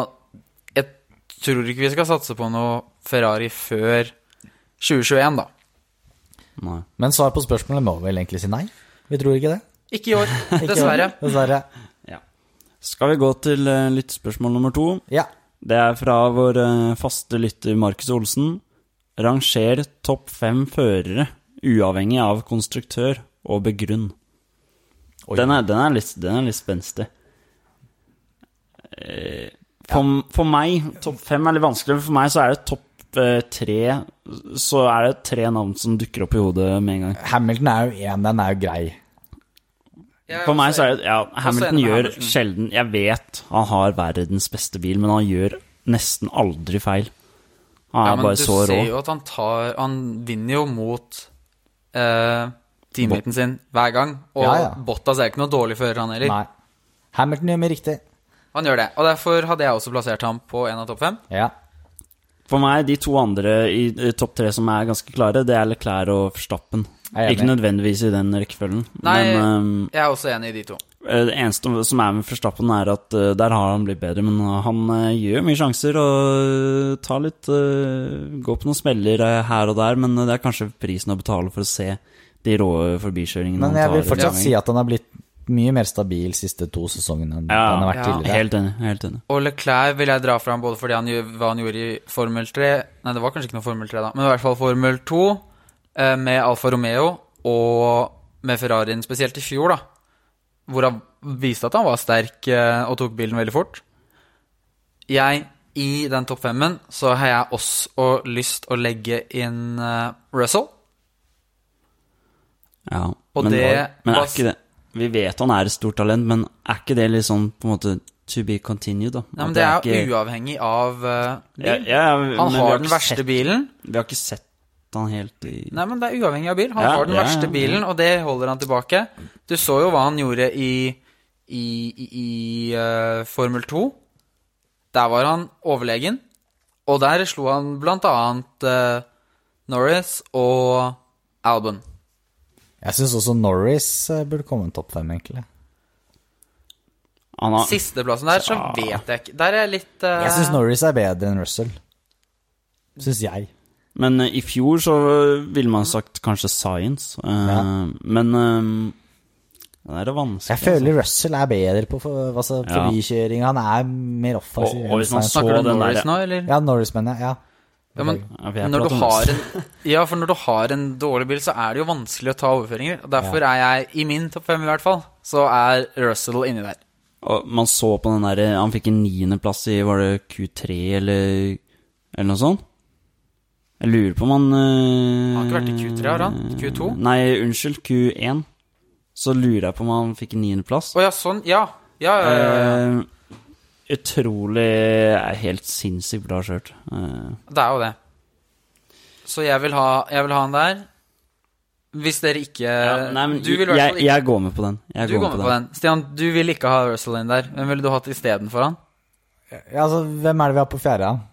jeg tror ikke vi skal satse på noe Ferrari før 2021, da. Nei. Men svar på spørsmålet må vel egentlig si nei? Vi tror ikke det. Ikke i år, Ikke dessverre. gjør det. Dessverre. Ja. Skal vi gå til eh, lyttespørsmål nummer to? Ja. Det er fra vår eh, faste lytter Markus Olsen. Ranger topp fem førere, uavhengig av konstruktør, og begrunn. Oi. Den er, den er litt, den er litt spenstig. Eh, For, for meg, topp fem er litt vanskelig, men for meg så er det topp eh, tre Så er det tre navn som dukker opp i hodet med en gang. Hamilton er jo én, den er jo grei. For meg så er det Ja, Hamilton enig med gjør Hamilton. sjelden Jeg vet han har verdens beste bil, men han gjør nesten aldri feil. Han er Ja, men bare du så rå. ser jo at han tar Han vinner jo mot eh, teammaten sin hver gang. Og Ja, ja. Bottas er ikke noe dårlig fører, han heller. Nei. Hamilton gjør mye riktig. Han gjør det. Og derfor hadde jeg også plassert ham på en av topp fem. Ja. For meg, de to andre i eh, topp tre som er ganske klare, det er Leclerc og Verstappen. Jeg er Ikke nødvendigvis i den rekkefølgen, Nei. men ehm, Jeg er også enig i de to. Eh, Det eneste som er med Verstappen, er at eh, der har han blitt bedre, men han eh, gjør mye sjanser og tar litt eh, Går på noen smeller eh, her og der, men eh, det er kanskje prisen å betale for å se de rå forbikjøringene Men jeg han tar. vil fortsatt si at han har blitt mye mer stabil siste to sesongene enn Ja. han har vært Ja. tidligere. Helt enig. helt enig Og Leclerc vil jeg dra fram både fordi han gjør hva han gjorde i Formel 3 Nei, det var kanskje ikke noe Formel 3, da, men i hvert fall Formel 2 eh, med Alfa Romeo og med Ferrarien spesielt i fjor, da. Hvor han viste at han var sterk eh, og tok bilen veldig fort. Jeg, i den topp femmen, så har jeg også lyst å legge inn eh, Russell. ja. Og men, eh, det men var- er ikke det Vi vet han er et stort talent, men er ikke det litt sånn på en måte to be continued, da? Nei, At men det er ikke- jo uavhengig av eh, ja, bil. ja, men Han vi har ikke den verste sett, bilen. Vi har ikke sett han helt i Nei, men det er uavhengig av bil. Han Ja, har den ja, verste ja. bilen, og det holder han tilbake. Du så jo hva han gjorde i, i, i, i eh, Formel 2. Der var han overlegen, og der slo han blant annet eh, Norris og Albon. Jeg syns også Norris eh, burde komme en topp fem, egentlig. han har, Sisteplassen der, Ah. så vet jeg ikke Der er jeg litt eh, Jeg syns Norris er bedre enn Russell. Syns jeg. Men eh, i fjor så eh, ville man sagt kanskje science. eh, Ja. Men eh, det er det vanskelig. Jeg føler Russell er bedre på for, altså, Ja. forbikjøring. Han er mer altså. offensiv. og, enn og hvis man Sainz. så Snakker du den Norris der nå, eller? Ja, Norris, mener jeg. Ja. Ja, men altså. Ja, vi er når på du Norris. har en, ja, for når du har en dårlig bil, så er det jo vanskelig å ta overføringer. Og Derfor er jeg, i min topp fem i hvert fall, så er Russell inni der. og Man så på den der eh, Han fikk en niendeplass i var det Q3 eller, eller noe sånt? Jeg lurer på om han eh, Han har ikke vært i Q3, har han? Q2? Nei, unnskyld, Q1. Så lurer jeg på om han fikk en niendeplass. Å ja, sånn. Ja. Ja, ja, ja, ja. Eh, utrolig eh, Helt sinnssykt bra skjørt. Eh, Det er jo det. Så jeg vil ha, jeg vil ha han der. Hvis dere ikke Ja, nei, men Du vil i hvert jeg, fall ikke jeg går med på den. Jeg Du går med på den. Stian, du vil ikke ha Russell inn der. Hvem ville du hatt istedenfor han? ja, altså, hvem er det vi har på fjerde? da?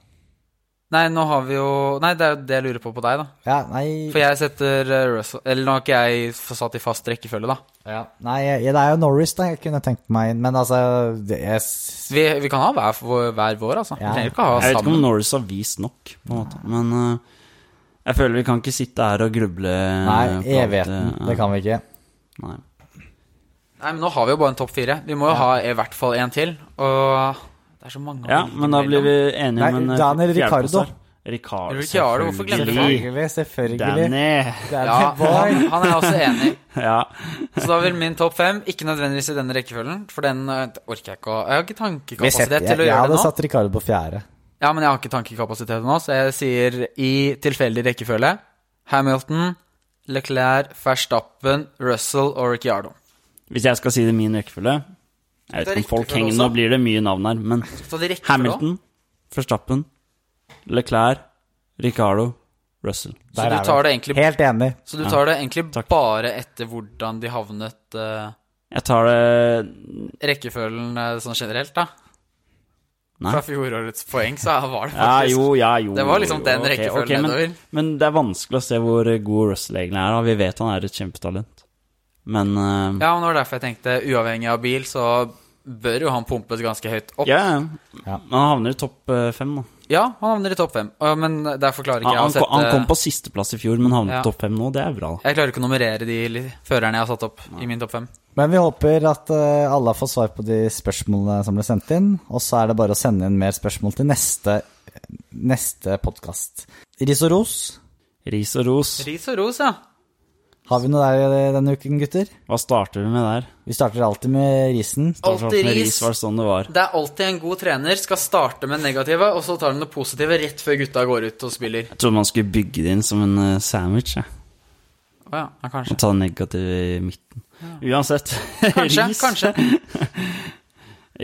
Nei, nå har vi jo Nei, det er jo det jeg lurer på på deg, da. Ja, nei, For jeg setter eh, Russell Eller nå har ikke jeg f- satt i fast rekkefølge, da. ja, nei jeg- det er jo Norris da jeg kunne tenkt meg inn, men altså det, jeg, s- Vi, vi kan ha hver, vår- hver vår, altså. Ja. Vi trenger ikke ha Jeg vet ikke om sammen. Norris har vist nok, på en måte. Men eh, jeg føler vi kan ikke sitte her og gruble. Nei, eh, på alt, evigheten. eh, Det kan vi ikke. Nei. Nei, men nå har vi jo bare en topp fire. Vi må jo ha i hvert fall en til. Og det er så mange å Ja, velge men da blir vi enige om Nei, en eh, Daniel fjerdeplass Ricardo. her. Ricardo, Ricciardo, hvorfor glemte du selvfølgelig. Selvfølgelig, selvfølgelig. Danny. Det er Ja, det, boy. han, han er jeg også enig. i. Ja. Så da vil min topp fem ikke nødvendigvis i denne rekkefølgen, for den eh, orker jeg ikke å Jeg har ikke Vi setter- tankekapasitet jeg, til å jeg gjøre hadde det nå. satt Ricardo på fjerde. Ja, men jeg har ikke tankekapasitet nå, så jeg sier i tilfeldig rekkefølge Hamilton, Leclerc, Verstappen, Russell og Ricciardo. Hvis jeg skal si det i min rekkefølge Jeg Det er vet ikke om folk rekkefølge henger også. Nå blir det mye navn her, men Så det rekker Hamilton, Verstappen, Leclerc, Ricardo, Russell. Så Der du er vi. tar det egentlig, Helt enig. så du tar det egentlig Takk. bare etter hvordan de havnet eh, Jeg tar det rekkefølgen eh, sånn generelt, da? Nei. Fra fjorårets poeng, så var det Ja, faktisk jo, ja, jo. Det var liksom jo, den ok, rekkefølgen ok, men, nedover. men det er vanskelig å se hvor god Russell egentlig er. Da. Vi vet han er et kjempetalent. Men eh, Ja, men det var derfor jeg tenkte uavhengig av bil, så bør jo han pumpes ganske høyt opp. ja. Ja. Men han havner i topp eh, fem, da. Ja, han havner i topp fem, Å, men derfor klarer ikke Han, han, kom, jeg å sette han kom på sisteplass i fjor, men havnet i Ja. topp fem nå. Det er bra. da. Jeg klarer ikke å nummerere de li- førerne jeg har satt opp i min topp fem. Men vi håper at eh, alle har fått svar på de spørsmålene som ble sendt inn. Og så er det bare å sende inn mer spørsmål til neste, neste podkast. Ris og ros. Ris og ros. Ris og ros, ja. Har vi noe der denne uken, gutter? Hva starter vi med der? Vi starter alltid med risen. Starter Alltid opp med ris. var det sånn det var. Det er alltid en god trener skal starte med negative, og så tar han det positive rett før gutta går ut og spiller. Jeg trodde man skulle bygge det inn som en eh, sandwich. Jeg. Å ja, ja, kanskje. Og ta det negative i midten. Uansett. Kanskje, ris. kanskje.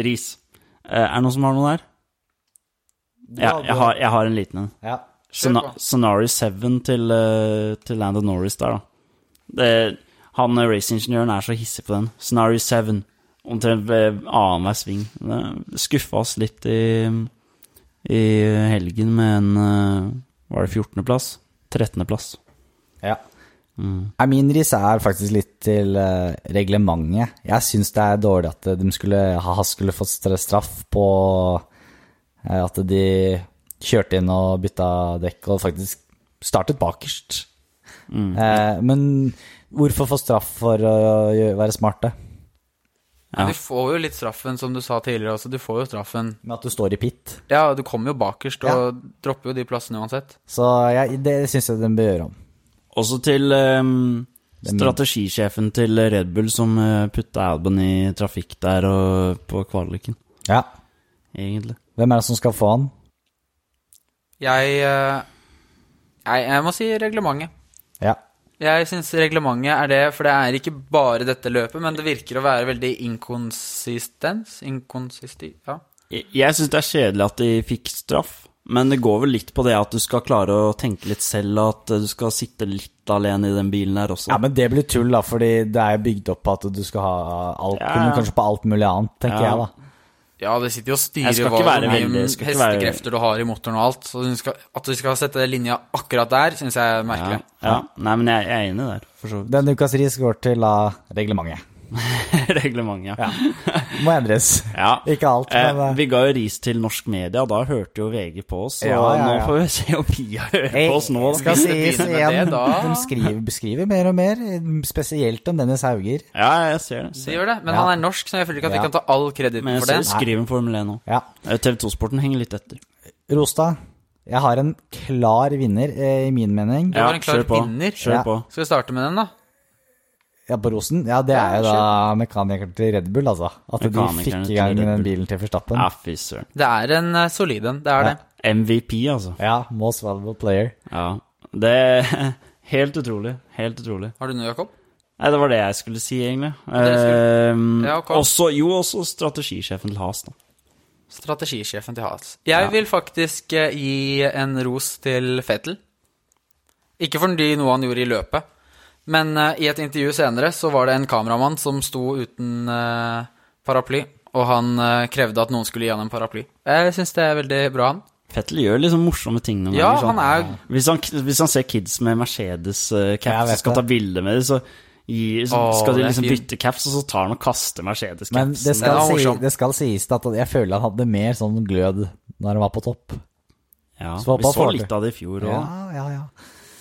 Ris. Eh, er det noen som har noe der? Ja, jeg har, jeg har en liten en. Ja. Kjør Scena- på. Scenario 7 til, eh, til Lando Norris der, da. Det, han eh, raceingeniøren er så hissig på den. Scenario 7. Omtrent ved annenhver sving. Det skuffa oss litt i, i helgen med en eh, Var det 14.-plass? 13.-plass. Ja. Nei, Min ris Mm. er faktisk litt til eh, reglementet. Jeg syns det er dårlig at eh, de skulle, ha skulle fått stra- straff på eh, at de kjørte inn og bytta dekk og faktisk startet bakerst. Eh, men hvorfor få straff for å gjø- være smarte? Ja. Du får jo litt straffen, som du sa tidligere også. Du får jo straffen. Med at du står i pit. Ja, du kommer jo bakerst og dropper jo de plassene uansett. Så jeg, det syns jeg de bør gjøre om. Også til ehm, strategisjefen til Red Bull som eh, putta Albon i trafikk der og på kvaliken, Ja. egentlig. Hvem er det som skal få han? Jeg eh, Nei, jeg må si reglementet. Ja. Jeg syns reglementet er det, for det er ikke bare dette løpet, men det virker å være veldig inkonsistens. Inkonsisti... Ja. Jeg- Jeg syns det er kjedelig at de fikk straff, men det går vel litt på det at du skal klare å tenke litt selv, og at eh, du skal sitte litt alene i den bilen der også. Ja, men det blir tull, da, fordi det er jo bygd opp at du skal ha alt, Ja, ja. kanskje på alt mulig annet, tenker Ja. jeg, da. ja, det sitter jo og Jeg styrer skal hva ikke være hvor mye veldig- jeg skal ikke være- hestekrefter du har i motoren og alt. Så du skal, at du skal sette linja akkurat der, syns jeg er ja, merkelig. ja. Nei, men jeg, jeg er enig der, for så vidt. Den ukas ris går til da reglementet. Reglementet, ja. Må endres. Ja. Ikke alt, men Eh, eh, vi ga jo ris til norsk media, da hørte jo VG på oss, så Ja, ja, ja. nå får vi se om Pia hører jeg på oss nå. skal sies Begynner med igjen. det, da. De skriver, beskriver mer og mer, spesielt om Dennis Hauger. Ja, jeg ser det. De Ser. det. gjør det, men Ja. han er norsk, så jeg føler ikke at vi Ja. kan ta all kreditten Men jeg for det. ser, skriver en Formel 1 nå. Ja. TV 2-sporten henger litt etter. Rostad, jeg har en klar vinner, eh, i min mening. Det var en klar kjør på. vinner. Kjør Ja. på. Skal vi starte med den, da? Ja, på Rosen. Ja, det er jo da mekanikeren til Red Bull, altså. At de Mekanikeren fikk til i gang Red Bull. den bilen til Verstappen. Ja, Ah, fy søren. Det er en eh, solid en, det er det. MVP, altså. Ja, most valuable player. Ja. Det Helt utrolig. Helt utrolig. Har du noe, Jakob? Nei, det var det jeg skulle si, egentlig. det du Ehm, Ja, ok. også, jo, også strategisjefen til Haas, da. Strategisjefen til Haas. Jeg vil faktisk eh, gi en ros til Fettel. Ikke fordi noe han gjorde i løpet, men eh, i et intervju senere så var det en kameramann som sto uten eh, paraply, og han eh, krevde at noen skulle gi han en paraply. Jeg syns det er veldig bra, han. Fettel gjør liksom morsomme ting noen Ja, ganger, sånn. han er hvis, han, hvis han ser kids med Jeg Mercedes-caps vet og skal det. ta bilde med dem, så, gir- så Åh, skal det de er liksom fint. bytte caps, og så tar han og kaster Men det Mercedes-capsen. skal, Den var si, morsom. det skal sies at jeg føler han hadde mer sånn glød når han var på topp. Ja, Så vi bare så får det. litt av det i fjor òg, Ja, ja, ja.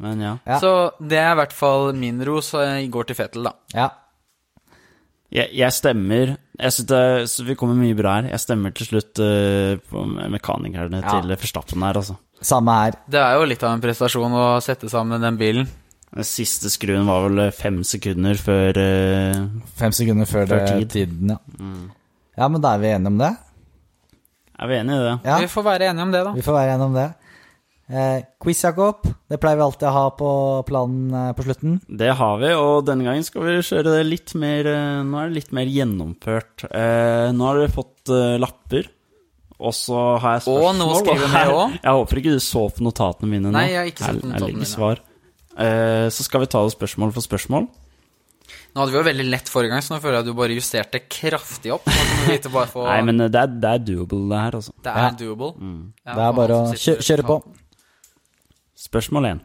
men ja. Ja. Så det er i hvert fall min ros, og jeg går til Fettel, da. ja. Jeg, jeg stemmer jeg synes det, så Vi kommer mye bra her. Jeg stemmer til slutt eh, på mekanikerne Ja. til Forstappen her, altså. Samme her. Det er jo litt av en prestasjon å sette sammen den bilen. Den siste skruen var vel eh, fem sekunder før eh, Fem sekunder før, Før det- tid. tiden, ja. Ja, men da er vi enige om det. Er vi enige i det? Ja, Vi får være enige om det, da. vi får være enige om det. Eh, quiz, Jakob. Det pleier vi alltid å ha på planen eh, på slutten. Det har vi, og denne gangen skal vi kjøre det litt mer eh, Nå er det litt mer gjennomført. Eh, nå har dere fått eh, lapper, og så har jeg spørsmål. Og noe å skrive og med her- også. Jeg håper ikke du så på notatene mine nå. Nei, jeg har ikke sett Her- på her notatene ligger mine. Svar. Eh, så skal vi ta det spørsmål for spørsmål. Nå hadde vi jo veldig lett forrige gang, så nå føler jeg at du bare justerte kraftig opp. Nå kan du vite bare få, Nei, men eh, det er, det er doable, det her, altså. det Ja. Mm. er doable. Ja, det er bare å han som kjø sitter- kjøre på. Spørsmål 1.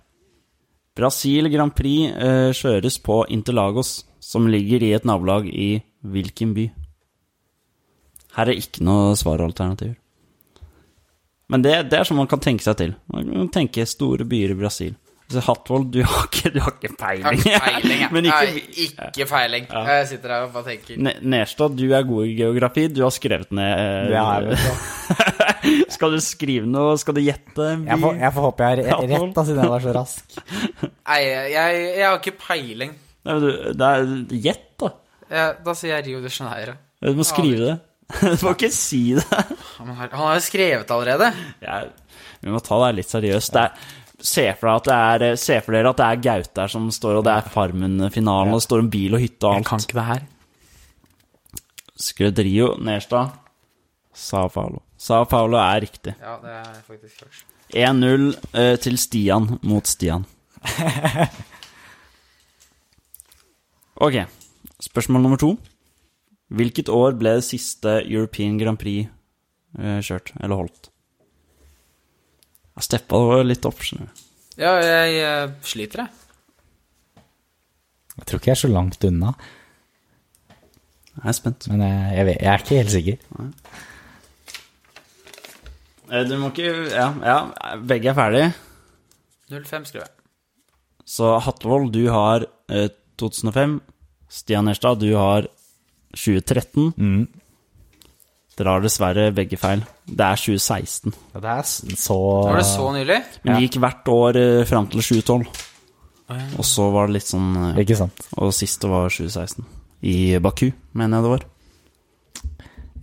Brasil Grand Prix eh, kjøres på Interlagos, som ligger i et nabolag i hvilken by? Her er ikke noe svaralternativer. Men det, det er sånn man kan tenke seg til. Man kan tenke store byer i Brasil. Altså, Hatvold, du har ikke, du har ikke Jeg har peiling. ikke peiling, jeg. Men ikke, Nei, ikke peiling. Jeg sitter her og bare tenker. Ne- Nerstad, du er god i geografi. Du har skrevet ned eh, Skal du skrive noe? Skal du gjette? en by? Jeg får, jeg får håpe jeg har Ja, rett, da, siden jeg var så rask. Nei, jeg, jeg har ikke peiling. Nei, men du, det er gjett, da. Jeg, da sier jeg Rio de Janeiro. Du må skrive det. Du må ikke si det. Han har, han har jo skrevet allerede. Jeg, vi må ta det litt seriøst. Det er, se, for deg at det er, se for dere at det er Gaute her som står, og det er Farmen-finalen, og det står en bil og hytte og alt. ikke det her. Skrevet Rio, Nerstad, Sa Paulo. Sa Paulo er riktig. Ja, det er faktisk klart. 1-0 eh, til Stian mot Stian. Ok, spørsmål nummer to. Hvilket år ble det siste European Grand Prix eh, kjørt, eller holdt? Jeg steppa det var litt opp, skjønner du. Ja, jeg, eh, sliter, jeg. Jeg tror ikke jeg er så langt unna, Jeg er spent. men jeg, jeg, vet, jeg er ikke helt sikker. Eh, du må ikke Ja, ja begge er ferdige. 05 skriver jeg. Så Hatlevold, du har eh, 2005. Stian Erstad, du har 2013. Mm. Dere har dessverre begge feil. Det er 2016. Ja, Det er s- så Var det så nylig? Men det gikk hvert år eh, fram til 2012. Og så var det litt sånn eh, Ikke sant. Og siste var 2016. I Baku, mener jeg det var.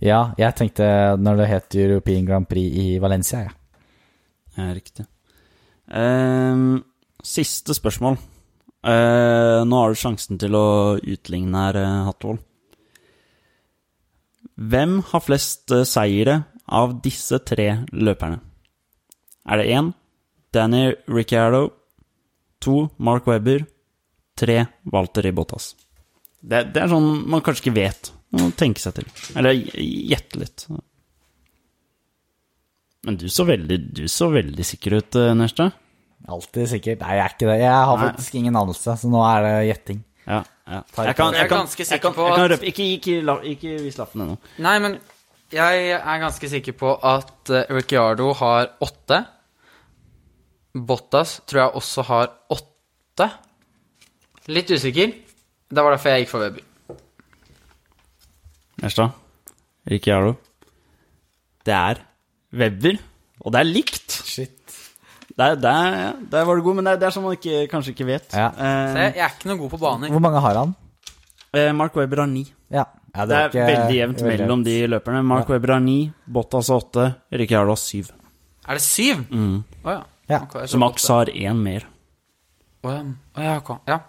Ja, jeg tenkte når det het European Grand Prix i Valencia, jeg. Ja, riktig. Ehm, siste spørsmål. Eh, nå har du sjansen til å utligne her, eh, Hatvold. Hvem har flest eh, seire av disse tre løperne? Er det én Danny Ricciardo, to Mark Webber, tre Walter Ibotas? Det, det er sånn man kanskje ikke vet. Man må tenke seg til. Eller gjette litt. Men du så veldig, du så veldig sikker ut, eh, Nerstad. Alltid sikkert. Nei, jeg er ikke det. Jeg har Nei. faktisk ingen anelse, så nå er det gjetting. Ja, ja. Tar Jeg, kan, Jeg er jeg, kan, ganske jeg, kan, sikker på jeg kan at- røpe Ikke, ikke, la- ikke vis lappen ennå. Nei, men jeg er ganske sikker på at eh, Ricciardo har åtte. Bottas tror jeg også har åtte. Litt usikker. Det var derfor jeg gikk for Webber. Nerstad. Ricciardo. Det er Webber, og det er likt. Shit. Der, der, ja, der var du god, men det er, det er som man ikke, kanskje ikke vet. Ja. Så Eh, Jeg, jeg er ikke noe god på baner. Hvor mange har han? eh, Mark Webber har ni. Ja. ja Det var er ikke- veldig jevnt mellom de løperne. Mark Webber har ni, Bottas har åtte, Ricciardo har syv. Er det syv? Å ja. Ja. Ok, jeg Mm. Så tror Max åtte. har én mer. Å ja. Å ja, ok. ja.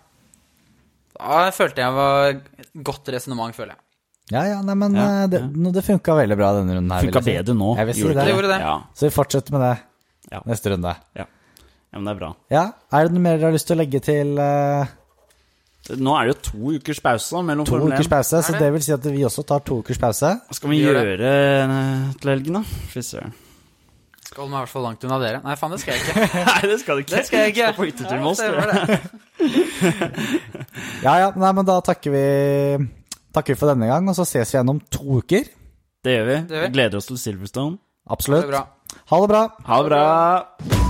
Da følte jeg var Godt resonnement, føler jeg. Ja, ja, nei, men Ja, eh, det, no, det funka veldig bra denne runden her. Funka vil jeg si. bedre nå. Jeg vil si gjorde det. Det gjorde det. Ja. Så vi fortsetter med det Ja. neste runde. ja. ja, men det er bra. Ja, er det noe mer du har lyst til å legge til eh, Nå er det jo to ukers pause da, mellom to Formel 1. ukers pause? Så det? det vil si at vi også tar to ukers pause. Hva skal vi Vi gjør gjøre det. eh, til helgen, da? Fy søren. Skal holde meg i hvert fall langt unna dere. Nei, faen, det skal jeg ikke. Nei, det skal du ikke. Det skal jeg ikke. Skal på hyttetur med oss, Ja, du. stemmer det. Ja, ja, nei, men da takker vi, takker vi for denne gang, og så ses vi igjen om to uker. Det gjør vi. Det gjør vi. Gleder oss til Silverstone. Ha det Absolutt. bra. Ha det bra. Ha det bra.